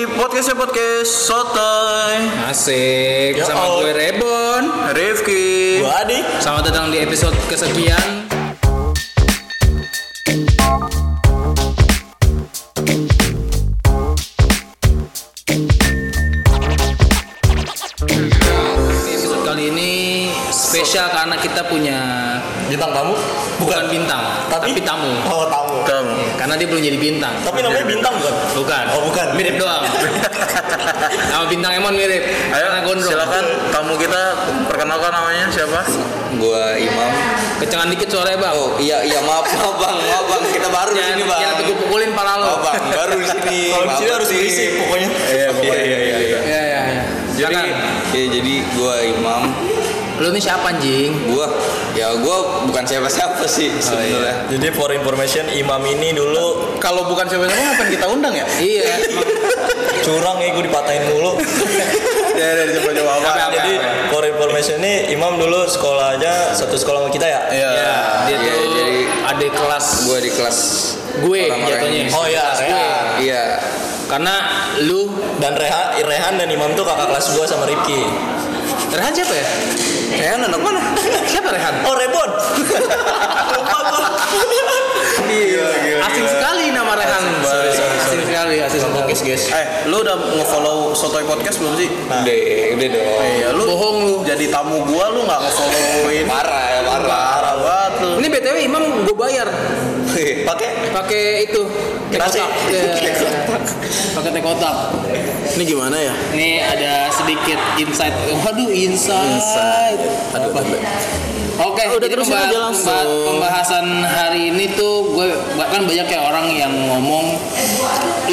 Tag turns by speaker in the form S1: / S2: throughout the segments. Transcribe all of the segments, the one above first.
S1: di podcastnya podcast Sotoy
S2: Asik,
S3: Yo,
S2: sama
S3: oh.
S2: gue Rebon.
S1: Rifki
S3: Gua Adi.
S2: Selamat datang di episode kesekian. Di episode kali ini spesial karena kita punya
S3: Bintang tamu?
S2: bukan bintang, tapi, tamu.
S3: Oh, tamu.
S1: Kamu
S2: Karena dia belum jadi bintang.
S3: Tapi namanya bintang bukan?
S2: Bukan.
S3: Oh, bukan.
S2: Mirip doang. Nama bintang Emon mirip.
S1: Ayo
S2: Karena gondrong.
S1: silakan tamu kita perkenalkan namanya siapa
S4: Gua Imam.
S2: Kecengan dikit suaranya, Bang.
S4: Oh iya iya maaf maaf bang maaf bang kita baru di
S2: Jangan,
S4: sini bang. Oh,
S2: jangan aku pukulin pala lo.
S4: Maaf bang baru di sini.
S3: Kalau di
S4: Maaf,
S3: sini harus
S4: sih.
S3: diisi pokoknya.
S4: Iya iya iya. iya,
S2: Iya, iya, iya.
S4: Jadi
S2: Silakan.
S4: ya, jadi gua Imam.
S2: Lu nih siapa anjing?
S4: Gua ya gua bukan siapa siapa sih sebenarnya.
S3: Jadi for information Imam ini dulu
S1: kalau bukan siapa-siapa ngapain kita undang ya
S2: Iya.
S3: curang ya gue dipatahin mulu.
S1: ya ya coba-coba
S2: Apa, apa,
S3: Jadi
S2: apa.
S3: for information ini Imam dulu sekolahnya satu sekolah sama kita ya.
S1: iya
S2: Ya, dia
S4: Iya,
S2: tuh
S4: jadi-
S2: adik kelas
S4: Gua di kelas
S2: gue
S4: orang-orang
S2: jatuhnya.
S4: yang-
S3: Oh iya, Rehan.
S4: Iya.
S2: Karena lu
S3: Dan Rehan, Rehan dan Imam tuh kakak kelas gua sama Rifki.
S2: Rehan siapa ya?
S4: Rehan anak mana?
S2: Siapa Rehan?
S3: Oh, Rebon. Lupa gua.
S2: Asing sekali nama Rehan.
S3: Sorry, sorry,
S2: Asing
S3: sorry.
S2: sekali, asing sekali.
S3: guys.
S1: eh lu udah ngefollow Sotoy Podcast belum sih Nah,
S3: Nah.
S4: Udah udah dong.
S1: iya lu
S2: Bohong lu.
S1: jadi tamu gua lu nggak ngefollowin
S4: Parah ya parah.
S1: parah banget lu
S2: Ini BTW Imam gue bayar
S3: Pakai
S2: pakai itu
S3: Nasi.
S2: tekotak. Iya. Pakai tekotak.
S1: ini gimana ya
S2: Ini ada sedikit insight. Waduh, insight.
S1: aduh
S2: Oke,
S1: Oh, udah
S2: jadi
S1: terusin
S2: pemba-
S1: aja langsung.
S2: pemba- pembahasan hari ini tuh gue bahkan banyak ya orang yang ngomong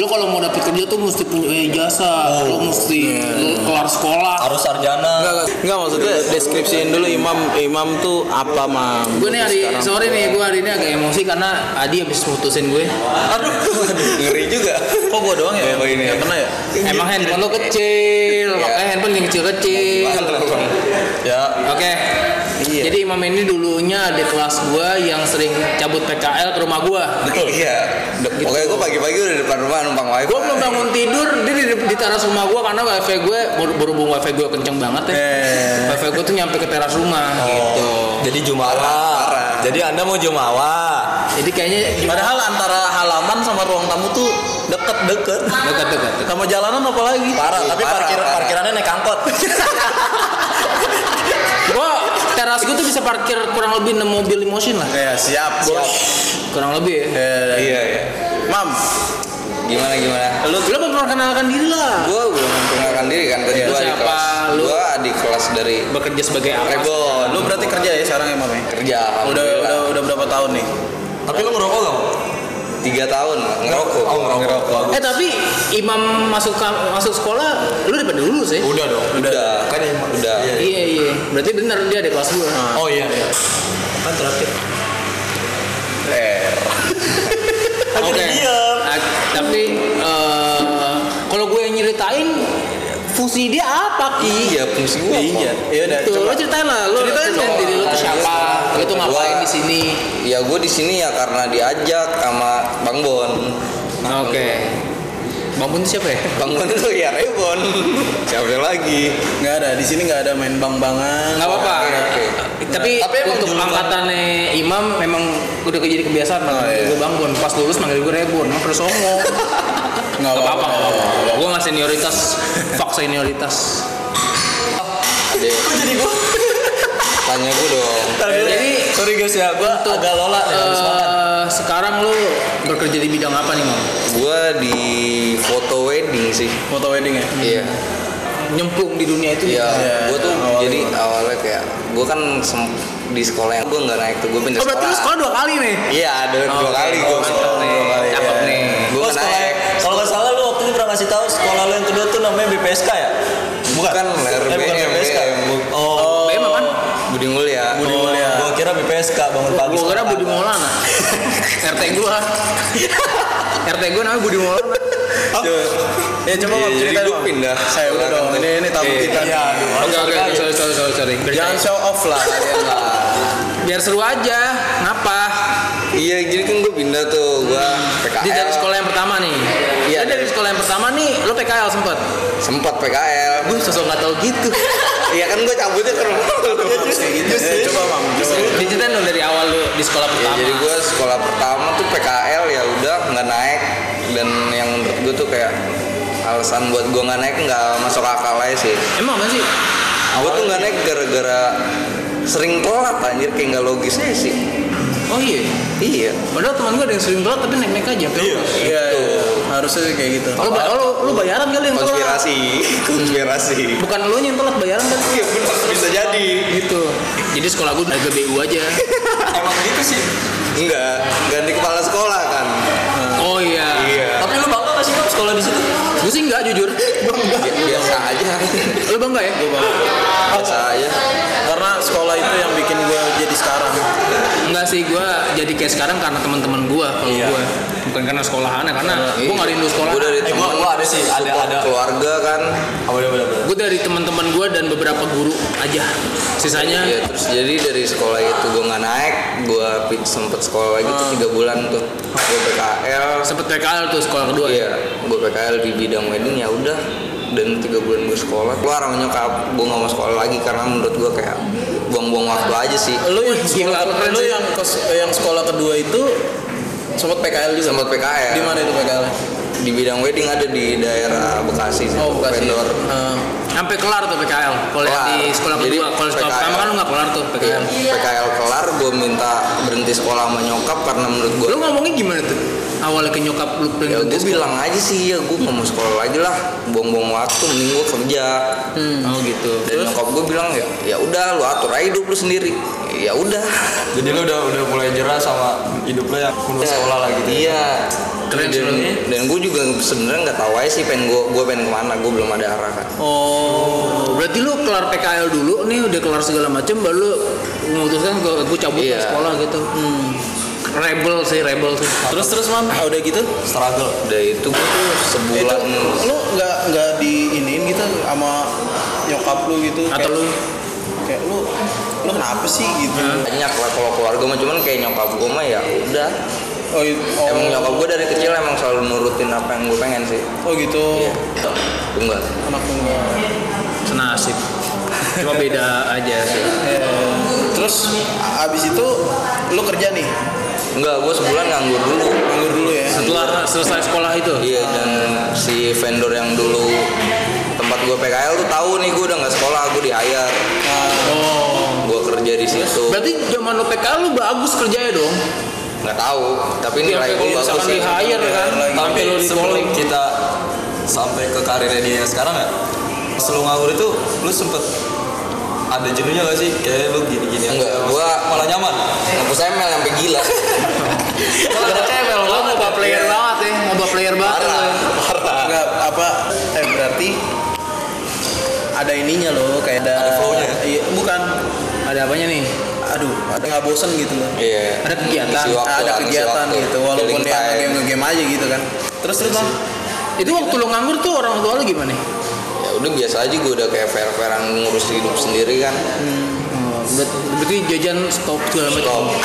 S2: lu kalau mau dapet kerja tuh mesti punya eh, jasa,
S1: Oh,
S2: lu mesti
S1: iya,
S2: lu keluar sekolah.
S3: harus sarjana.
S1: Enggak maksudnya deskripsiin dulu imam imam tuh apa mam
S2: Gue nih hari sorry nih gue hari ini agak emosi karena Adi habis mutusin gue.
S1: aduh
S4: Ngeri juga.
S1: kok gua doang ya
S4: Bawain ya.
S1: Nggak pernah ya
S2: Emang handphone lu
S1: Iya.
S2: kecil, makanya handphone yang kecil-kecil.
S4: Parah, Bang.
S3: Ya,
S2: Oke. Jadi Imam ini dulunya ada kelas gue yang sering cabut PKL ke rumah gue.
S4: Iya. Pokoknya gua pagi-pagi udah depan rumah numpang wifi.
S2: Gue belum bangun tidur, dia di, di teras rumah gue karena wifi gue ber- berhubung wifi gue kenceng banget ya. Wifi gue tuh nyampe ke teras rumah gitu.
S3: jadi Jumawa.
S4: Parah.
S3: Jadi Anda mau Jumawa.
S2: Jadi kayaknya
S1: Padahal antara halaman sama ruang tamu tuh deket-deket.
S2: dekat-dekat.
S1: Sama jalanan apa lagi?
S3: Parah,
S4: Iya,
S3: tapi
S4: parah,
S3: parkir
S4: parah.
S3: parkirannya naik angkot.
S2: Gue teras gue tuh bisa parkir kurang lebih 6 mobil limosin lah.
S1: Ya, siap, bos.
S2: Kurang lebih ya.
S4: Iya iya.
S1: Mam,
S4: Gimana gimana?
S2: Lu, lu memperkenalkan diri lah.
S4: Gua belum memperkenalkan diri kan tadi
S2: Lu
S4: gua di
S2: siapa?
S4: kelas.
S2: Lu-
S4: Gua di kelas dari
S2: Bekerja sebagai apa?
S4: Rebon.
S1: lu berarti kerja ya sekarang ya, Mam? ya?
S4: kerja
S1: Udah, udah, udah berapa tahun nih?
S3: tapi lu ngerokok gak?
S4: tiga tahun ngerokok.
S3: Oh, ngerokok.
S2: Eh tapi Imam masuk ka- masuk sekolah, lu daripada dulu sih.
S3: Udah dong.
S4: Udah kan udah.
S2: Iya iya. Berarti bener dia ada kelas gue.
S3: Oh iya iya. Kan terakhir.
S2: Oke.
S3: Akhirnya diam.
S2: A- Tapi eh, kalau gue yang nyeritain fungsi dia apa ki?
S4: Iya fungsi gua. apa?
S1: Iya. Ya udah,
S2: Tuh,
S1: coba.
S2: lo ceritain lah, lo
S1: Ceritain
S2: ceritain
S1: dong.
S2: diri lo tuh siapa, lo tuh ngapain
S4: Gua-
S2: di sini?
S4: Ya gua di sini ya karena diajak sama Bang Bon.
S2: Oke. Bang Bun tuh siapa ya?
S4: Bang Bon itu ya Rebon. Siapa lagi?
S1: Nggak ada, di sini nggak ada main bang-bangan.
S2: Nggak apa-apa.
S4: Oke, oke.
S2: Tapi,
S3: Tapi emang
S2: untuk
S3: julukan-
S2: angkatannya Imam memang udah jadi kebiasaan manggil
S1: iya.
S2: gue Bang Bun. Pas lulus manggil gue Rebon, emang terus songong.
S1: Nggak
S3: Oh,
S2: Gak apa-apa,
S1: apa-apa.
S2: gak apa-apa. Gue nggak senioritas, fuck senioritas.
S4: Ada
S3: Jadi gua.
S4: tanya gua dong.
S2: Jadi eh,
S3: Sorry guys ya, gua
S2: Untuk,
S3: agak lola ya habis makan.
S2: eh, sekarang lu bekerja di bidang apa nih, Mam?
S4: Gua di foto wedding sih.
S1: Foto wedding ya?
S4: Iya.
S2: nyemplung di dunia itu
S4: Iya,
S1: Iya,
S4: gue tuh
S1: awalnya
S4: jadi awalnya kayak gue kan sem- di sekolah yang gue nggak naik tuh gue
S2: Oh
S4: pindah
S2: berarti lu
S4: sekolah.
S2: sekolah dua kali nih?
S4: Iya, ada dua
S2: Oke,
S4: kali gue
S2: oh,
S4: sekolah
S2: mantap
S4: dua kali.
S2: nih, cakep
S4: Iya.
S2: nih. Oh, ya?
S4: Gue
S3: Gua
S4: nggak
S3: sekolah. ya.
S4: naik.
S3: Kalau nggak salah lu waktu itu pernah ngasih tahu sekolah lu yang kedua tuh namanya BPSK ya? Bukan.
S4: Bukan,
S3: eh, bukan
S4: RBM,
S3: BPSK.
S4: Bu-
S3: Oh.
S2: BM apaan?
S4: Budi Mulia.
S3: Budi
S4: Ya.
S3: Mulia. Gua kira BPSK bangun pagi.
S2: Gua kira
S3: sekolah
S2: Budi
S3: pagi.
S2: Maulana RT gua RT gua namanya Budi Maulana
S1: Ya coba
S4: Iya,
S1: Mam,
S4: jadi
S1: ceritain
S4: gua
S1: Mam.
S4: pindah.
S1: Saya udah dong, ini ini tamu
S4: Iya.
S1: kita.
S3: Iya, aduh.
S2: Oke oke oke, sorry sorry sorry sorry
S1: Jangan show off lah.
S4: ya.
S1: kalian lah.
S2: Biar seru aja, ngapa?
S4: Iya, jadi kan gue pindah tuh gue PKL.
S2: Jadi dari Hmm. sekolah yang pertama nih.
S4: Iya.
S2: Eh. Iya. Dari sekolah yang pertama nih, lo PKL sempet.
S4: sempat PKL
S2: Gue sosok nggak tahu gitu.
S4: Iya kan gue cabutnya ke rumah
S3: Iya,
S4: Kayak gitu sih.
S3: Coba bang.
S2: Diceritain dong dari awal lo di sekolah
S4: Ya,
S2: pertama.
S4: jadi gue sekolah pertama tuh PKL ya udah nggak naik dan yang menurut gue tuh kayak alasan buat gue nggak naik nggak masuk akal aja sih.
S2: Emang apa sih?
S4: Gue tuh nggak naik gara-gara sering telat anjir kayak nggak logis aja sih.
S2: Oh iya.
S4: Iya.
S2: Padahal teman gue ada yang sering telat tapi naik-naik aja. Iya.
S3: Iya. iya. Harusnya kayak gitu.
S2: Lo, ba- lo, lo bayaran kali yang telat.
S4: Konspirasi, konspirasi.
S2: Bukan lo yang telat bayaran kan?
S4: Iya benar bisa jadi.
S2: Gitu. Jadi sekolah gue harga BU aja.
S3: Emang gitu sih.
S4: Enggak, ganti kepala sekolah kan.
S2: Oh iya.
S4: Iya.
S3: Tapi lu bangga gak sih Bang, sekolah di situ?
S2: Gue sih enggak jujur.
S4: Bi- Biasa aja.
S2: Lo bangga ya? Gue bangga.
S4: Biasa aja.
S3: Karena sekolah itu yang bikin gue jadi sekarang.
S2: Enggak sih, gue jadi kayak sekarang karena teman-teman gue kalau
S3: Iya.
S2: gue bukan karena sekolahan ya, karena gue nggak rindu sekolah.
S4: Gue dari
S3: Eh, gua,
S4: teman
S3: gua ada sih, ada ada.
S4: keluarga kan.
S3: Oh, bener bener. bener.
S2: Gue dari teman-teman gue dan beberapa guru aja. Sisanya
S4: Ya terus jadi dari sekolah itu gue nggak naik, gue pi- sempet sekolah lagi tuh tiga bulan tuh. Gue PKL,
S2: sempet PKL tuh sekolah kedua.
S4: iya, gue PKL di bidang wedding ya udah. Dan tiga bulan gue sekolah, keluar sama nyokap, gue nggak mau sekolah lagi karena menurut gue kayak buang-buang waktu aja sih.
S3: Lu yang sekolah,
S2: keren
S3: lu
S2: sih.
S3: yang kes- yang sekolah kedua itu sempat PKL juga.
S4: Sempet PKL.
S3: Di mana itu PKL? -nya?
S4: Di bidang wedding ada di daerah Bekasi sih,
S3: Oh, Bekasi.
S4: vendor.
S3: Eh,
S2: Sampai kelar tuh PKL. Kalau yang
S4: Kelar.
S2: di sekolah
S4: Jadi
S2: kedua, kalau sekolah
S4: PKL.
S2: pertama kan lu nggak kelar tuh
S4: Iya,
S2: PKL.
S4: PKL kelar, gue minta berhenti sekolah sama nyokap karena menurut gue
S2: Lu ngomongnya gimana tuh? Awalnya ke nyokap lu gitu? pengen
S4: Iya. ya gue
S2: berhenti sekolah.
S4: bilang aja sih ya gue nggak mau sekolah lagi lah buang-buang waktu mending gue kerja
S3: Hmm,
S2: Oh gitu.
S4: dan nyokap gue bilang ya ya udah lu atur aja hidup lu sendiri ya udah
S3: Jadi lu udah udah mulai jerah sama hidup lu ya. yang kudu sekolah gitu ya? lagi.
S4: iya
S2: Keren sih
S4: dan,
S2: lu.
S4: dan gue juga sebenarnya nggak tahu aja sih pengen gue gue pengen kemana gue belum ada arah kan
S2: Oh, berarti lu kelar PKL dulu nih udah kelar segala macem baru lu memutuskan gue gue cabut dari
S4: Iya.
S2: sekolah gitu. Hmm. Rebel sih, rebel sih.
S3: Terus terus mam, ah, udah gitu struggle.
S4: udah itu gue tuh
S3: Itu
S4: sebulan
S3: lu nggak nggak diinin gitu sama nyokap lu gitu?
S2: Atau
S3: kayak-
S2: lu
S3: kayak lu lu kenapa sih gitu?
S4: banyak lah kalau keluarga mah cuman kayak nyokap gue mah ya udah
S3: Oh, i- oh,
S4: emang nyokap gue dari kecil emang selalu nurutin apa yang gue pengen sih
S3: oh gitu.
S4: tunggal
S3: Anak tunggal.
S2: senasib. Cuma beda aja sih.
S3: Eh, terus a- abis itu lu kerja nih
S4: enggak gue sebulan nganggur dulu
S3: nganggur dulu ya
S2: Setelah selesai sekolah itu.
S4: Iya dan si vendor yang dulu tempat gue PKL tuh tahu nih gue udah nggak sekolah gue di hire Ah.
S2: Oh.
S4: gue kerja di situ
S2: Berarti zaman lo PKL lu bagus kerjanya dong.
S4: nggak tahu tapi nilai
S2: Sampai
S4: gue
S2: lu
S4: bagus
S2: Ya, misalkan
S4: sih
S2: di hire kan. Sampai lo di calling.
S3: kita sampai ke karirnya dia sekarang ya sebelum nganggur itu lu sempet ada jenuhnya gak sih kayak lu gini-gini
S4: Enggak, gua-
S3: malah nyaman
S4: ngapus ML sampai gila
S2: Karena cewek lo mau player banget ya, mau player banget.
S4: Iya. parah
S2: lo.
S4: parah
S3: enggak apa eh berarti ada ininya loh kayak ada,
S4: Ada flow-nya ya?
S3: iya, bukan
S2: Ada apanya nih?
S3: aduh ada nggak bosen gitu loh
S4: iya
S2: Ada kegiatan.
S4: Ngisi waktu,
S3: ada
S4: ngisi
S3: kegiatan
S4: waktu.
S3: gitu walaupun
S4: Killing
S3: dia
S4: time.
S3: game game aja gitu kan terus terus bang
S2: Itu waktu lo nganggur tuh orang tua lo gimana?
S4: ya udah biasa aja gue udah kayak fair fairan ngurus hidup sendiri kan
S2: Oh, ber- berarti jajan stop segala
S4: Stop.
S2: macam.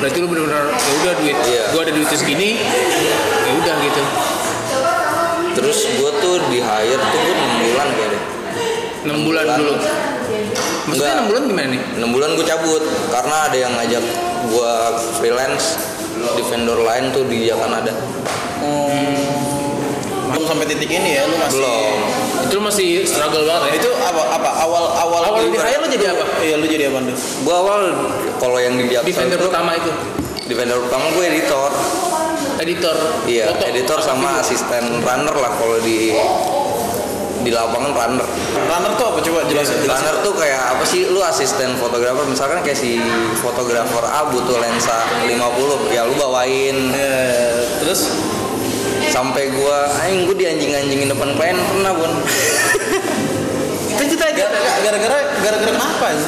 S2: Berarti lu benar-benar ya udah duit.
S4: Iya.
S2: Gua ada duitnya segini. Ya udah gitu.
S4: terus gue tuh di hire tuh gue enam bulan kayaknya
S2: 6 bulan dulu. Maksudnya
S4: Enggak.
S2: 6 bulan gimana nih?
S4: 6 bulan gue cabut karena ada yang ngajak gue freelance di vendor lain tuh di Jakarta ada
S3: belum sampai titik ini ya lu masih
S4: belum
S2: Itu lu masih struggle banget ya.
S3: itu apa apa awal awal
S2: Awal di hire Oh, lu jadi apa?
S3: iya lu jadi apa tuh
S4: gue awal kalau yang di Jakarta
S2: Di vendor
S4: itu,
S2: pertama itu.
S4: di vendor pertama gue editor
S2: Editor.
S4: iya
S2: foto.
S4: editor sama asisten runner lah kalau di di lapangan runner Iya,
S3: runner tuh apa coba jelasin jelasin
S4: runner tuh kayak apa sih lu asisten fotografer misalkan kayak si fotografer A butuh lensa 50 ya lu bawain
S3: Eh, terus
S4: sampai gua aing gua dianjing-anjingin depan klien pernah bun
S2: Itu kita aja.
S3: gara- gara- gara-gara gara-gara kenapa ini?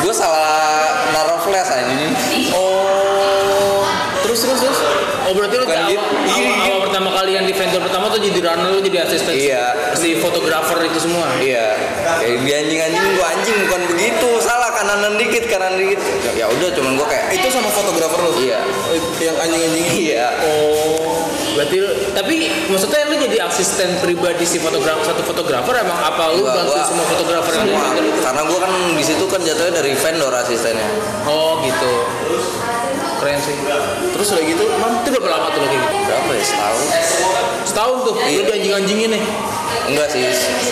S4: gua salah naruh flash anjing
S3: oh terus terus terus
S2: Oh berarti lu
S4: Bukan
S2: awal,
S4: gitu. Iya,
S2: awal- awal pertama kali yang di vendor pertama tuh jadi runner lu jadi asisten
S4: Iya.
S2: si fotografer itu semua.
S4: Iya, kayak di anjing-anjing gua anjing bukan begitu, salah kanan dikit, kanan dikit. Ya, ya udah, cuman gua kayak
S3: itu sama fotografer lu
S4: iya,
S3: Eh, yang anjing anjing
S4: iya.
S3: oh
S2: Berarti lu- tapi maksudnya lu jadi asisten pribadi si fotografer satu fotografer emang apa lu
S4: Gua-
S2: bantu
S4: gua-
S2: semua fotografer yang
S4: semua.
S2: ada di hotel
S4: karena gue kan di situ kan jatuhnya dari vendor asistennya
S2: itu? Oh gitu. Keren sih. Terus udah gitu, mam itu berapa lama tuh lagi? gitu?
S4: berapa ya setahun
S2: Setahun tuh, lu
S4: Iya.
S2: dianjing-anjingin nih.
S4: enggak sih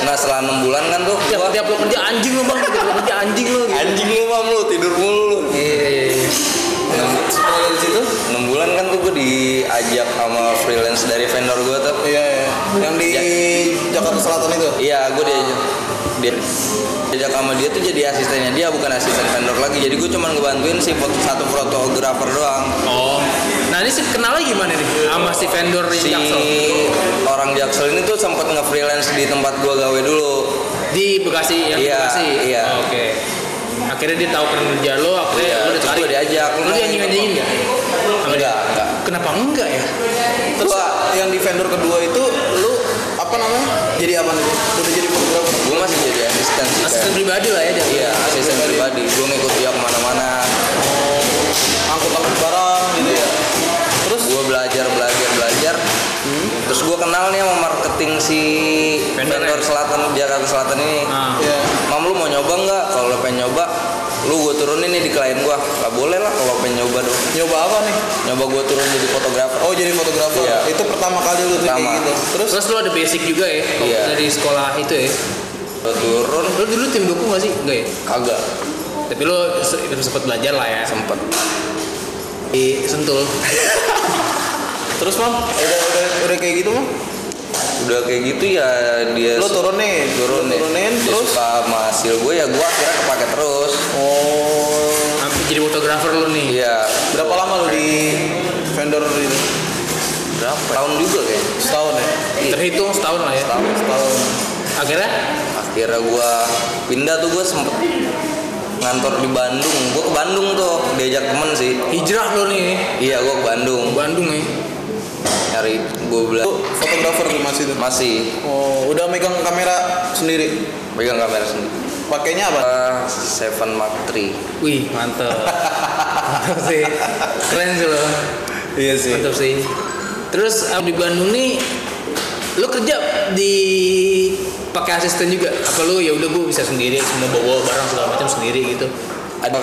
S4: nah setelah enam bulan kan tuh
S2: Tiap
S4: gua
S2: tiap lu kerja anjing lu bang, tiap lu kerja anjing lu. Gitu.
S4: anjing lu mam lu tidur mulu lu.
S2: Iya, iya, iya.
S4: enam
S3: setelah dari situ
S4: enam bulan kan tuh gue diajak sama freelance dari vendor gue tuh
S3: iya iya yang di
S4: Ya.
S3: Jakarta Selatan itu Ah.
S4: Iya, gue diajak. Dia, diajak sama dia tuh jadi asistennya dia bukan asisten vendor lagi. Jadi gue cuman ngebantuin si foto, satu fotografer doang.
S2: Oh. Nah ini sih kenalnya gimana nih sama si vendor di
S4: Si
S2: Jaksel?
S4: orang Jaksel ini tuh sempat nge-freelance di tempat gue gawe dulu.
S2: Di Bekasi yang di
S4: Iya,
S2: Bekasi.
S4: iya.
S2: Oh, Oke. Akhirnya dia tahu kerja lo, akhirnya
S4: Iya,
S2: lo
S4: terus
S2: ditarik.
S4: gua diajak, lu
S2: Lo dianjing-anjingin nggak? Sama dia?
S4: Enggak, enggak.
S2: Kenapa enggak ya?
S3: terus yang di vendor kedua itu lu apa namanya jadi apa nih udah jadi fotografer
S4: Gue masih jadi asisten sih. kayak.
S2: Asisten pribadi lah ya dia.
S4: Iya, asisten pribadi. Gue ngikut dia kemana-mana.
S3: angkut-angkut barang gitu ya
S4: Terus gue belajar, belajar, belajar.
S3: Hmm.
S4: Terus gue kenal nih sama marketing si
S2: Vendornya.
S3: ya?
S4: vendor Selatan Jakarta Selatan ini.
S2: Nah,
S3: Iya.
S4: Mam lu mau nyoba nggak? Kalau lu pengen nyoba, lu gue turunin nih di klien gua. Gak boleh lah kalau pengen nyoba dong.
S3: nyoba apa nih
S4: Nyoba gue turun jadi fotografer.
S3: oh jadi fotografer
S4: Iya.
S3: itu pertama kali lu tuh kayak
S4: Pertama.
S3: gitu terus
S2: Terus, terus lo ada basic juga ya kalau
S4: Iya.
S2: dari sekolah itu ya.
S4: Gue turun,
S2: Lo dulu tim doku nggak sih? Enggak ya.
S4: kagak
S2: Tapi lo se- sempat belajar lah ya.
S4: sempet.
S2: Di sentul.
S3: terus mam udah udah udah kayak gitu mam
S4: Udah kayak gitu ya dia
S3: lu turunin
S4: turun
S3: Lu turunin
S4: dia
S3: terus
S4: suka sama hasil gue ya gue akhirnya kepake terus.
S3: oh
S2: Sampai jadi fotografer lo nih.
S4: Iya,
S3: berapa lama lu di vendor itu
S4: berapa? Tahun juga kayaknya.
S3: setahun ya
S2: Terhitung setahun lah ya.
S4: Setahun.
S3: setahun
S2: Akhirnya
S4: Akhirnya gue pindah tuh gue sempet ngantor di Bandung. Gue ke Bandung tuh diajak temen sih.
S2: hijrah lo nih
S4: Iya, gue ke
S2: ke
S4: Bandung
S2: Bandung ya.
S4: nyari gue
S3: lu
S4: belajar.
S3: fotografer tuh masih itu
S4: Masih
S3: oh udah megang kamera sendiri
S4: pegang kamera sendiri.
S3: pakainya apa
S4: Ah, Seven Mark 3
S2: Wih, mantep. mantep sih. Keren sih lo.
S3: iya sih
S2: Mantep sih. Terus eh, di Bandung nih lu kerja di pakai asisten juga apa lu ya udah gua bisa sendiri semua bawa barang segala macam sendiri gitu
S4: ada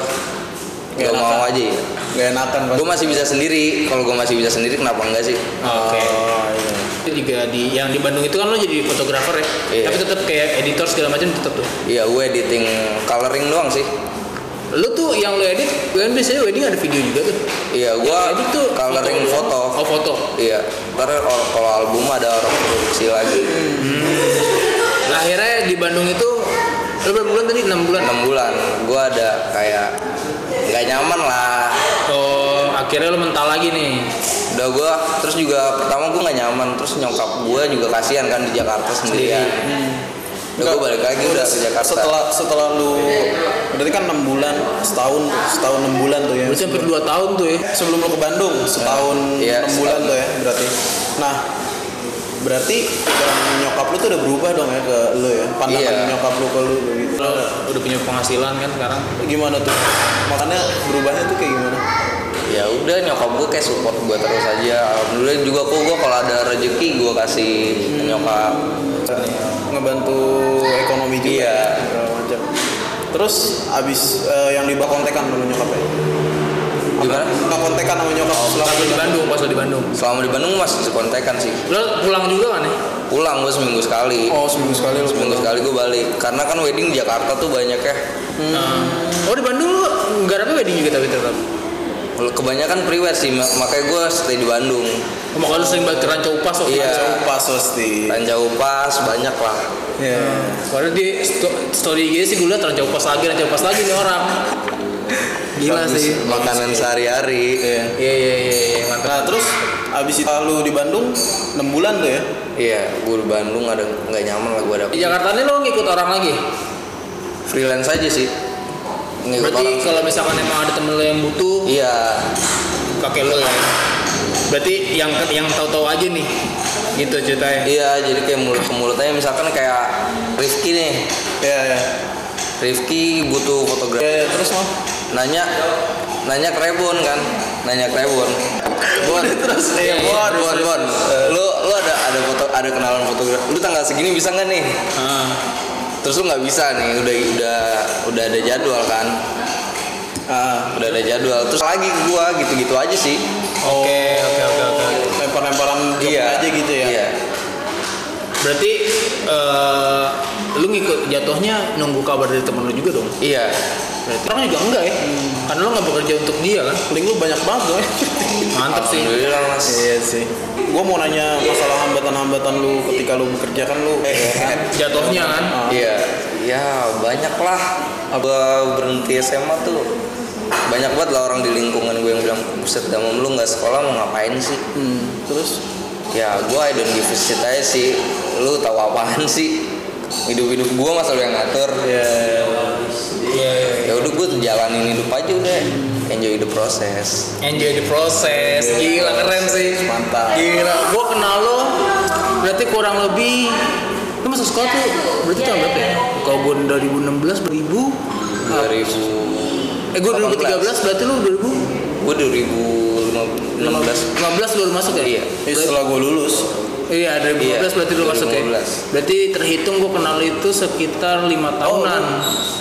S3: Gak
S4: gak mau aja ya
S3: gak enakan pasti
S4: gue masih bisa sendiri kalau gue masih bisa sendiri kenapa enggak sih
S2: oke
S3: Oh, iya.
S2: itu juga di yang di Bandung itu kan lo jadi fotografer ya
S4: Iya.
S2: tapi tetap kayak editor segala macam tetap tuh
S4: iya gue editing coloring doang sih
S2: lu tuh yang lo edit kan biasanya wedding ada video juga tuh
S4: iya gue
S2: edit tuh
S4: coloring foto,
S2: oh foto
S4: iya ntar or- kalau album ada orang produksi lagi
S2: nah, akhirnya di Bandung itu lo berapa bulan tadi enam bulan
S4: enam bulan gue ada kayak nggak nyaman lah
S2: Oh, akhirnya lo mental lagi nih.
S4: udah gue terus juga pertama gue nggak nyaman terus nyokap gue juga kasihan kan di Jakarta sendirian udah gue balik lagi udah ke Jakarta
S3: setelah setelah lu berarti kan enam bulan setahun tuh, setahun enam bulan tuh ya
S2: Berarti hampir 2 tahun tuh ya.
S3: sebelum lu ke Bandung setahun
S4: Iya,
S3: enam bulan
S4: setahun.
S3: tuh ya berarti nah berarti orang nyokap lu tuh udah berubah dong ya ke lu ya pandangan
S4: Iya.
S3: nyokap lu ke lu gitu
S2: Lo udah punya penghasilan kan sekarang.
S3: gimana tuh makanya berubahnya tuh kayak gimana
S4: ya udah nyokap gue kayak support gue terus aja alhamdulillah juga kok gue kalau ada rezeki gue kasih ke nyokap
S3: ngebantu ekonomi juga
S4: Iya.
S3: ya, segala macam. terus abis eh, yang di kontekan dulu nyokapnya
S4: gimana
S3: nggak kontekan sama nyokap selama
S2: Pas lo
S3: di
S2: di Bandung, pas lo di Bandung.
S4: selama di Bandung masih kontekan sih
S2: Lo pulang juga kan nih?
S4: pulang gue seminggu sekali
S3: oh seminggu sekali lu
S4: seminggu sekali gue balik karena kan wedding di Jakarta tuh banyak ya
S2: Oh, di Bandung lo garapnya wedding juga tapi tetap.
S4: kebanyakan priwet sih mak- makanya gue stay di Bandung
S2: Oh, Makanya lo sering banget ke Ranca Upas waktu
S4: Iya.
S2: itu.
S3: pas
S1: Iya.
S3: pasti
S4: Ranjau Pas banyak lah
S3: Iya.
S2: Padahal di sto- story IG sih gue liat Ranca Upas lagi, Ranca Upas lagi nih orang. Gila
S4: Bagus,
S2: Iya sih.
S4: makanan sehari-hari
S3: Iya.
S2: Iya, iya, iya, iya, mantap.
S3: Nah terus abis itu lu di Bandung 6 bulan tuh ya?
S4: iya gue di Bandung ada nggak nyaman lah gue ada
S2: Di Jakarta nih lo ngikut orang lagi.
S4: freelance aja sih ngikut
S2: Berarti
S4: orang
S2: kalau misalkan emang ada temen lo yang butuh,
S4: iya
S2: kakek lo ya. Berarti yang yang tahu-tahu aja nih. Gitu ceritanya.
S4: Iya, jadi kayak mulut ke mulut aja misalkan kayak Rifki nih.
S3: Iya iya.
S4: Rifki butuh
S3: Iya
S4: fotografer.
S3: iya, terus mah
S4: Nanya nanya ke Rebon kan nanya ke Rebon Bon terus iya, Bon Bon Bon Eh, lu lu ada ada foto ada kenalan fotografer lu tanggal segini bisa nggak nih terus lu nggak bisa nih udah udah udah ada jadwal kan Ah, udah ada jadwal terus lagi ke gua gitu-gitu aja sih
S2: Oke, oke, oke, oke.
S1: lempar-lemparan job
S4: iya
S1: aja gitu ya
S4: iya
S2: Berarti eh, lu ngikut jatuhnya nunggu kabar dari temen lu juga dong.
S4: iya Hmm.
S2: Berarti orang juga enggak ya? Karena lu nggak bekerja untuk dia kan.
S1: link lu banyak banget dong
S2: Mantap ya. sih.
S4: Alhamdulillah, Mas.
S1: iya sih gua mau nanya masalah hambatan-hambatan lu ketika lu bekerja kan lu eh kan
S2: Jatuhnya kan.
S4: Iya, ya banyak lah. Gue berhenti SMA tuh banyak banget lah orang di lingkungan gue yang bilang buset damam lu nggak sekolah mau ngapain sih?
S1: terus
S4: Ya gue I don't give a shit aja sih. Lu tahu apaan sih? Hidup-hidup gue masa lu yang ngatur. Ya udah gue jalanin hidup aja udah. Enjoy the process.
S2: Enjoy the process. Gila keren sih.
S4: Mantap.
S2: Gila. Gua kenal lo. Berarti kurang lebih lu masuk sekolah tuh berarti tahun berapa ya? Kalau gua 2016 beribu.
S4: 2000
S2: Eh gua 2013 berarti lu 2000
S4: Gue 2015.
S2: 15 baru masuk ya? Iya.
S1: eh, setelah gua lulus
S2: Iya, 2015
S4: Iya,
S2: berarti lu masuk ya.
S4: 2015.
S2: Berarti terhitung gua kenal itu sekitar lima tahunan.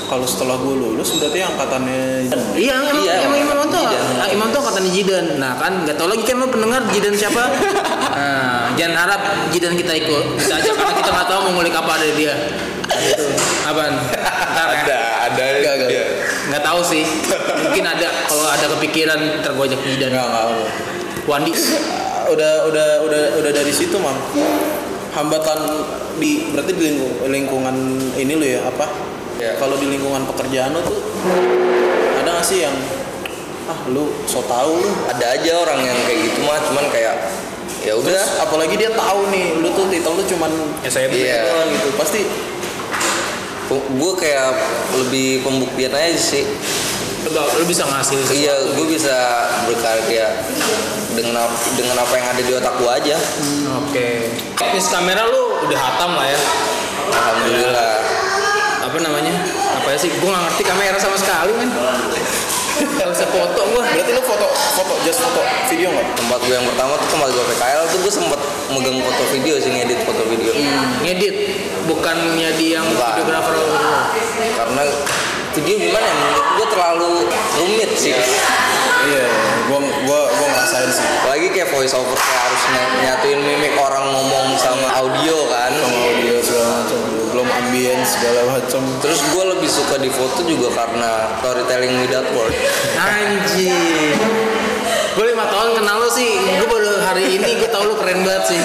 S1: kalau setelah gua lulus berarti angkatannya
S2: Iya, emang,
S4: Iya,
S2: emang Imam tuh,
S4: Jidan.
S2: ah, Imam tuh angkatan Jidan. Nah kan, nggak tahu lagi kan lo pendengar Jidan siapa? Nah, jangan harap Jidan kita ikut. Kita aja karena kita nggak tahu mau ngulik apa dari dia. Gitu. Apaan? Ntar ya.
S4: ada. Iya.
S2: Nggak, nggak. Nggak tahu sih. Mungkin ada kalau ada kepikiran tergojek Jidan.
S1: enggak enggak
S2: Wandi.
S1: udah udah udah udah dari situ mam hambatan di berarti di lingku- lingkungan ini lu ya apa
S4: Ya.
S1: kalau di lingkungan pekerjaan lu tuh ada nggak sih yang ah lu so tau lu
S4: Ada aja orang yang kayak gitu mah cuman kayak ya udah
S1: Terus, apalagi dia tahu nih lu tuh titel lu cuman
S2: SMP.
S4: Iya.
S1: doang gitu pasti
S4: gue kayak lebih pembuktian aja sih
S2: Lo, lo bisa ngasih sesuatu.
S4: iya gue bisa berkarya dengan ap- dengan apa yang ada di otak gue aja
S2: Oke. Teknis kamera lo udah hatam lah ya.
S4: alhamdulillah
S2: Apa namanya? Apa sih? Gue nggak ngerti kamera sama sekali kan. Gak usah foto gue.
S1: berarti lu foto foto just foto video nggak
S4: tempat gue yang pertama tuh tempat gue PKL tuh gue sempet megang foto video sih ngedit foto video
S2: Hmm. ngedit bukannya dia yang
S4: Bukan.
S2: videografer
S4: karena video gimana ya menurut gue terlalu rumit sih
S1: iya gua gua gua ngerasain sih
S4: apalagi kayak voice over kayak harus ny- nyatuin mimik orang ngomong sama audio kan
S1: sama audio segala macam belum ambience segala macam
S4: terus gue lebih suka di foto juga karena storytelling without word
S2: anjir gue lima tahun kenal lo sih gue baru hari ini gue tau lo keren banget sih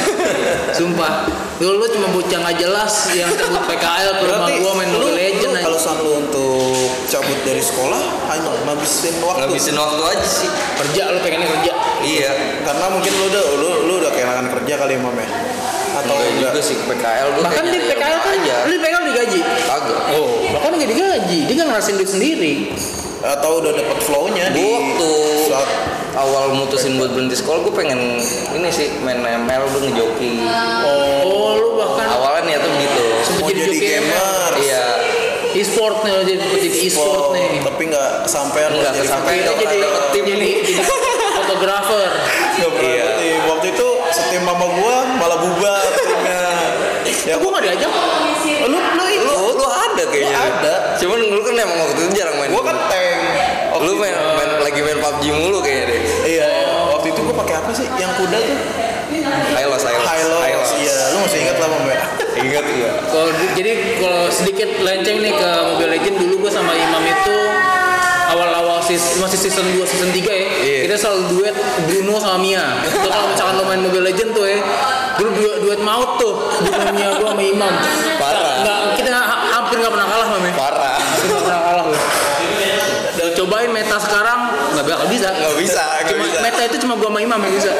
S2: sumpah dulu lo cuma bocah nggak jelas yang cabut PKL ke rumah gue main
S1: lu,
S2: Mobile Legend
S1: lu
S2: aja.
S1: kalau saat lu untuk cabut dari sekolah hanya ngabisin waktu
S4: ngabisin waktu aja sih
S1: Iya,
S2: kerja lo pengennya kerja
S4: iya
S1: karena mungkin lu udah lu, lu udah kehilangan kerja kali ya Mam, ya? atau
S4: Enggak
S1: enggak
S4: juga gitu sih ke PKL gue
S2: bahkan di PKL kan
S4: aja
S2: lo di PKL digaji
S4: kagak
S2: oh bahkan nggak digaji dia nggak ngerasin duit sendiri
S1: atau udah dapet flow-nya di
S4: gue waktu
S1: saat
S4: awal mutusin buat berhenti sekolah gue pengen ini sih main ML gue ngejoki
S2: oh lo bahkan
S4: awalnya niatnya begitu
S2: Sempet
S1: mau jadi
S2: joki
S1: gamer
S4: iya
S2: e-sport nih lo jadi jadi e-sport
S1: oh,
S2: nih
S1: tapi nggak sampai
S4: Nggak kesampaian.
S2: Akhirnya jadi
S4: Dapet tim
S2: jadi
S4: nih.
S2: jadi fotografer
S1: Gak pernah
S4: Iya.
S1: berhenti. Waktu itu setim mama gua malah bubar timnya. ya
S2: ya gue nggak diajak
S1: lu lu
S4: lu,
S1: itu.
S4: lu ada kayaknya
S1: Lu ada.
S4: cuman lu kan emang waktu itu jarang main
S1: Gua kan tank. Waktu
S4: lu
S1: itu-
S3: Iya.
S4: main, main lagi main PUBG mulu kayaknya deh
S1: Iya, iya. Waktu itu gua pakai apa sih? Yang kuda tuh.
S4: ayo los ayo los
S1: High
S4: ayo
S1: low.
S4: los
S1: Iya, lu masih ingat lah Mbak.
S4: ingat gua
S2: Kalau di- jadi kalau sedikit lenceng nih ke Mobile Legend dulu gue sama Imam itu awal-awal sis- masih season 2 season 3 ya.
S4: Iya.
S2: Kita selalu duet Bruno sama Mia. Itu kalau misalkan lo main Mobile Legend tuh ya. Dulu duet, duet maut tuh Bruno Mia gue sama Imam.
S4: Parah.
S2: Nggak, kita ha- hampir nggak pernah kalah ya. sama
S4: parah
S2: Nggak pernah kalah gue. Dan cobain meta sekarang nggak bakal bisa.
S4: nggak bisa nggak
S2: Cuma
S4: bisa
S2: meta itu cuma gue sama Imam yang bisa.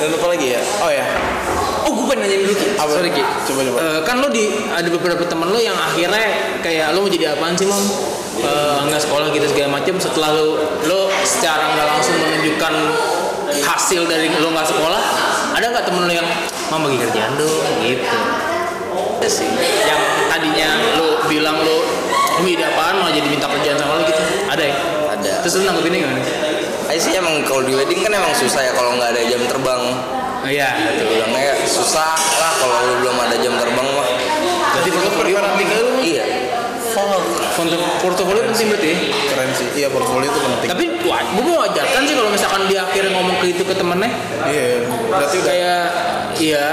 S1: Dan apa lagi ya? Oh ya,
S2: Oh gue pengen nanyain dulu Ki.
S1: Apa?
S2: Sorry Ki.
S1: Coba, coba.
S2: Eh, kan lo di ada beberapa teman lo yang akhirnya kayak lo mau jadi apaan sih mom? Eh, nggak sekolah gitu segala macam. Setelah lo lo secara nggak langsung menunjukkan hasil dari lo nggak sekolah, ada nggak temen lo yang mau bagi kerjaan dong gitu? Ada Iya sih. Yang tadinya lo bilang lo "Lu ide apaan mau jadi minta kerjaan sama lo gitu? Ada ya?
S4: ada
S2: Terus lu nanggepinnya gimana?
S4: Ayo sih emang kalau di wedding kan emang susah ya kalau nggak ada jam terbang.
S2: Oh, iya.
S4: Bilangnya susah lah kalau lu belum ada jam terbang mah.
S2: Berarti portofolio penting lu.
S4: Iya.
S2: Porto- Portofolio penting berarti. ya?
S1: keren sih iya portfolio itu penting
S2: Tapi wah, gue mau wajarkan sih kalau misalkan dia akhirnya ngomong ke itu ke temennya
S1: iya berarti udah
S2: kayak iya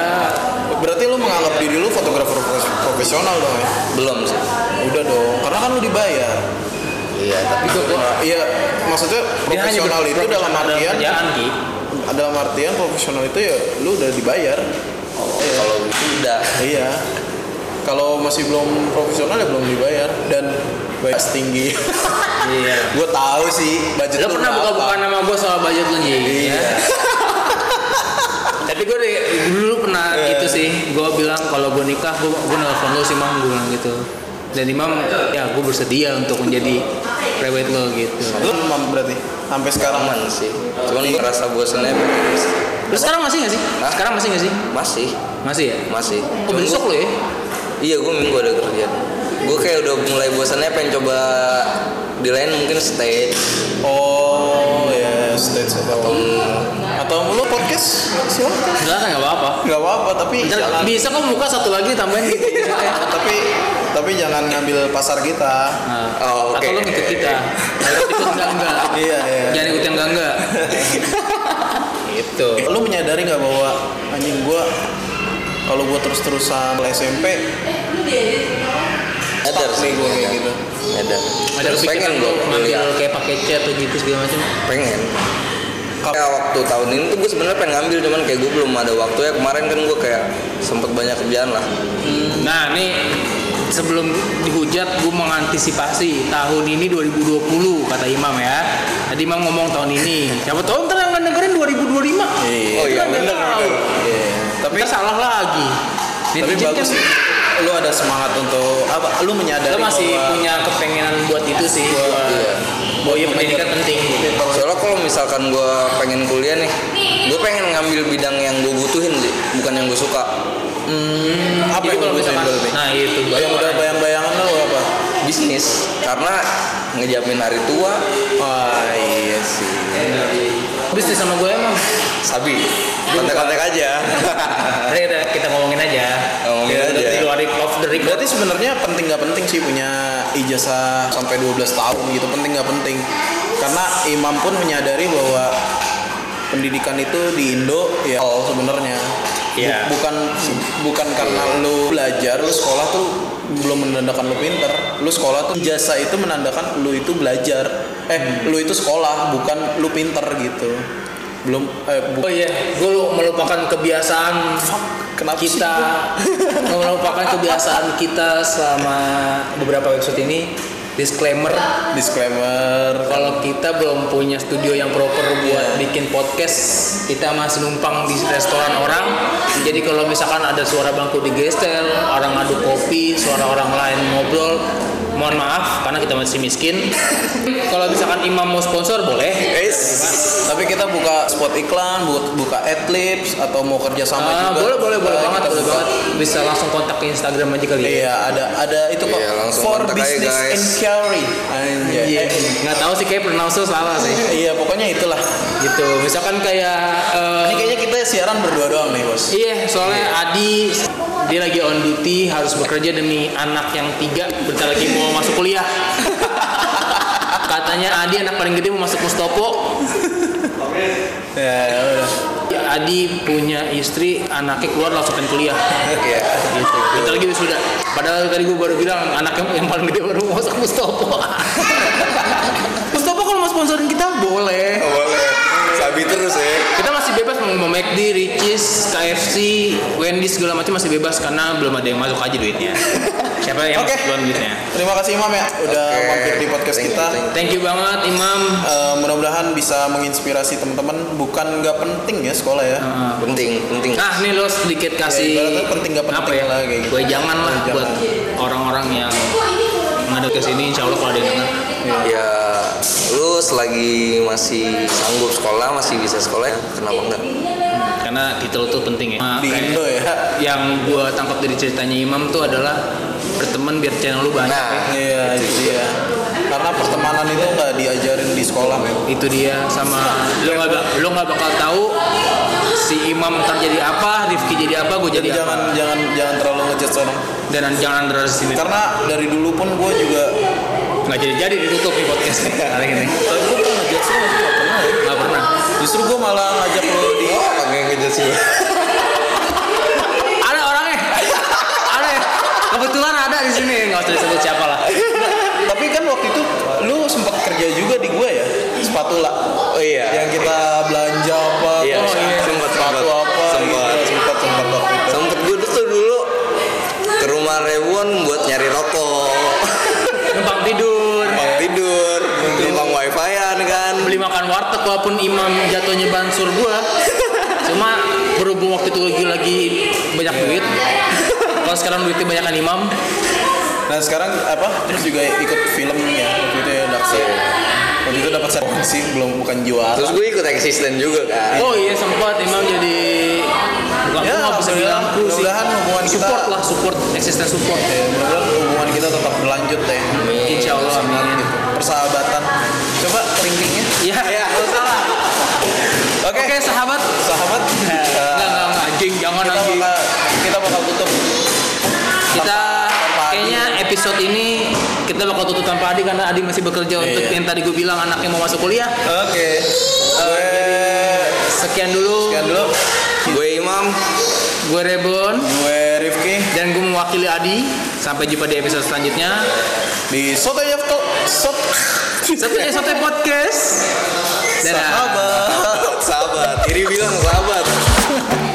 S1: berarti lu menganggap diri lu fotografer profes- profesional dong ya
S4: Belum sih.
S1: udah dong karena kan lu dibayar
S4: Iya. Tapi
S1: itu iya maksudnya
S2: dia hanya
S1: profesional
S2: ber-
S1: itu dalam
S2: profesional dalam
S1: artian
S2: kerjaan Ki.
S1: dalam artian profesional itu ya lu udah dibayar
S4: kalau gitu udah.
S1: Iya. Kalau masih belum profesional ya belum dibayar dan bayar tinggi.
S2: Iya.
S1: gue tahu sih budget
S2: Lo pernah
S1: berapa.
S2: buka-bukaan sama gue soal budget lo Ji? Iya. Tapi gue deh, dulu pernah gitu sih. Gue bilang kalau gue nikah, gue gue nelfon lo sih mam, gue bilang gitu. Dan Imam, ya gue bersedia untuk menjadi prewed lo gitu.
S1: Lu mam berarti sampai sekarang
S4: Aman sih. Cuman
S1: Iya.
S4: ngerasa bosannya pengen istri.
S2: Lo sekarang masih gak sih? Sekarang masih gak sih?
S4: masih
S2: Masih ya?
S4: masih.
S2: Oh
S4: Cuman
S2: besok
S4: gua-
S2: lo ya?
S4: Iya gue minggu ada kerjaan. Gue kayak udah mulai bosannya pengen coba di lain mungkin stage
S1: Oh ya stage atau atau lu podcast silakan.
S2: Silahkan gak apa-apa.
S1: Gak apa-apa tapi
S2: Ntar
S1: jangan,
S2: bisa kok buka satu lagi tambahin gitu.
S1: tapi tapi jangan ngambil pasar kita.
S2: Nah,
S4: Oh, oke.
S2: Atau lo ngikut kita. Kalau ikut enggak enggak.
S1: Iya iya.
S2: Jangan ikut yang enggak enggak. gitu.
S1: Lu menyadari nggak bahwa anjing gue kalau gue terus-terusan SMP
S4: Ada sih gue kayak gitu. Ada.
S2: Ada
S4: Terus
S2: kepikiran
S4: pengen
S2: lo
S4: gue
S2: ngambil kayak pakai cat atau gitu segala macam.
S4: pengen. Kayak waktu tahun ini tuh gue sebenarnya pengen ngambil cuman kayak gue belum ada waktu ya kemarin kan gue kayak sempet banyak kerjaan lah.
S2: Nah, nih sebelum dihujat gue mengantisipasi tahun ini 2020 kata Imam ya tadi Imam ngomong tahun ini siapa tahu ntar yang dengerin 2025
S4: Oh iya bener.
S2: tapi salah lagi
S1: tapi
S2: Netizen kan
S1: bagus sih lu ada semangat untuk apa lu menyadari
S2: lo masih
S1: bahwa-
S2: punya kepengenan buat itu sih
S4: Iya.
S2: bahwa iya pendidikan penting
S4: Soalnya kalau misalkan gue pengen kuliah nih, gue pengen ngambil bidang yang gue butuhin sih, bukan yang gue suka.
S1: apa yang
S2: jadi kalau
S1: lu
S2: misalkan
S1: butuhin berarti?
S2: nah itu
S1: yang udah bayang-bayangan lu apa
S4: Bisnis, karena ngejamin hari tua,
S1: ah iya sih
S2: bisnis sama gue emang
S4: sabi. Kontak-kontak aja.
S2: Tadi kita, kita ngomongin aja
S4: Ngomongin
S2: Kita
S4: aja.
S2: di luar of the record
S1: berarti sebenarnya penting nggak penting sih punya ijazah sampai 12 tahun gitu penting nggak penting karena imam pun menyadari bahwa pendidikan itu di Indo ya all sebenarnya Bu-
S2: Iya.
S1: bukan bukan karena lu belajar lu sekolah tuh belum menandakan lu pinter lu sekolah tuh jasa itu menandakan lu itu belajar eh
S2: Hmm.
S1: lu itu sekolah bukan lu pinter gitu belum eh bu-
S2: oh iya gue melupakan kebiasaan
S1: kenapa sih?
S2: kita melupakan kebiasaan kita selama beberapa episode ini disclaimer
S1: disclaimer
S2: kalau kita belum punya studio yang proper buat bikin podcast kita masih numpang di restoran orang jadi kalau misalkan ada suara bangku digeser orang ngaduk kopi suara orang lain ngobrol mohon maaf karena kita masih miskin kalau misalkan imam mau sponsor boleh
S1: tapi kita buka spot iklan buka, buka adlibs atau mau kerja sama
S2: Ah,
S1: juga
S2: boleh boleh boleh
S1: kita-
S2: banget
S1: kita
S2: boleh
S1: buka.
S2: banget bisa langsung kontak ke Instagram aja kali ya
S1: Iya, ada ada itu kok.
S4: Iya, langsung
S1: for
S4: kontak aja,
S1: business
S4: guys.
S1: inquiry. Anjay.
S2: Iya.
S1: Eh,
S2: nggak tahu sih kayak pronounce salah sih
S1: Iya, pokoknya itulah.
S2: gitu misalkan kayak eh,
S1: Ini kayaknya kita siaran berdua doang nih, Bos.
S2: Iya, soalnya Adi dia lagi on duty harus bekerja demi anak yang tiga bentar lagi mau masuk kuliah. Katanya Adi anak paling gede mau masuk Mustopo.
S1: Ya, udah.
S2: Adi punya istri, anaknya keluar langsung pengen kuliah.
S4: Iya.
S2: Gitu. Bentar lagi sudah. Padahal tadi gue baru bilang anaknya yang paling gede baru mau masuk Mustopo. Mustopo kalau mau sponsorin kita boleh.
S4: Boleh. Sabi terus ya.
S2: kita masih bebas mau mau McD, Ricis, KFC, Wendy's segala macam masih bebas karena belum ada yang masuk aja duitnya. Siapa yang
S1: Oke.
S2: masuk duluan duitnya?
S1: Terima kasih Imam ya udah
S4: Oke.
S1: mampir di podcast
S4: Thank you,
S1: kita.
S4: thank you.
S2: Thank you banget Imam.
S1: Eh, mudah-mudahan bisa menginspirasi teman-teman bukan nggak penting ya sekolah ya.
S4: Penting, penting.
S2: Nah, nih lo sedikit
S1: Ya,
S2: kasih
S1: ibaratnya penting nggak penting
S2: apa ya?
S1: lah, kayak gitu.
S2: Gue jangan lah
S1: Jangan.
S2: buat orang-orang yang ngadu ke sini insya Allah kalau ada yang dengar.
S4: Ya, lu selagi masih sanggup sekolah, masih bisa sekolah, kenapa enggak?
S2: Karena titel tuh penting ya. Nah,
S1: Di
S2: kayak
S1: Indo ya.
S2: yang gue tangkap dari ceritanya Imam tuh adalah berteman biar channel lu banyak.
S4: Nah,
S1: Iya, itu dia. karena pertemanan itu nggak diajarin di sekolah men
S2: itu dia sama lo nggak bak- lo nggak bakal tahu si imam ntar jadi apa Rifki jadi apa gue jadi
S1: jadi
S2: apa
S1: jangan
S4: ya?
S1: jangan jangan terlalu ngejudge orang
S2: dan jangan dari sini
S1: karena dari dulu pun gue juga
S2: nggak jadi jadi ditutup nih podcast kali ini
S1: tapi gue pernah ngejudge lo nggak pernah ya
S2: nggak pernah
S1: justru gue malah ngajak lo di
S4: Oh, apa yang ngejar sih?
S2: ada orangnya ada ya? kebetulan ada di sini nggak usah disebut siapa lah
S1: tapi kan waktu itu lu sempat kerja juga di gue ya spatula
S4: Oh iya.
S1: yang kita belanja apa
S4: Iya,
S1: oh,
S4: iya. Sempet,
S1: sepatu
S4: sempet.
S1: apa
S4: Sempet.
S1: gitu, sempet sempet waktu itu
S4: Sempet gue tuh dulu ke rumah Rewon buat nyari rokok,
S2: numpang tidur
S4: bang tidur, numpang wifi-an kan.
S2: beli makan warteg walaupun imam jatuhnya bansur gua cuma berhubung waktu itu lagi lagi banyak duit kalau sekarang duitnya banyakan imam
S1: nah sekarang apa terus juga ikut film ya waktu itu ya Daksi waktu itu dapat sih belum bukan juara
S4: Terus gue ikut eksisten juga kan.
S2: oh iya sempat imam jadi Gak
S1: Ya,
S2: ya, bisa
S1: alhamdulillah.
S2: bilang aku sih
S1: Mudah-mudahan hubungan kita-
S2: support lah support eksisten support
S1: ya mudah-mudahan hubungan kita tetap berlanjut ya
S2: insya Allah amin
S1: persahabatan coba ringkingnya
S2: ya nggak salah
S1: Iya. oke
S2: oke sahabat
S1: sahabat
S2: nggak
S1: eh,
S2: nggak nggak anjing jangan
S1: kita
S2: anjing
S1: bakal kita bakal tutup
S2: kita
S1: tanpa Adi.
S2: kayaknya episode ini kita bakal tutup tanpa Adi karena Adi masih bekerja untuk
S1: Iya.
S2: yang tadi gue bilang anaknya mau masuk kuliah Eh,
S1: oke gue
S2: sekian dulu
S1: sekian dulu
S4: Gue Imam.
S2: gue Rebon
S1: gue Rifki
S2: dan gue mewakili Adi sampai jumpa di episode selanjutnya
S1: di Soto Yafto Sot
S2: satunya satu podcast dadah
S1: sahabat
S4: Sahabat. Iri bilang sahabat.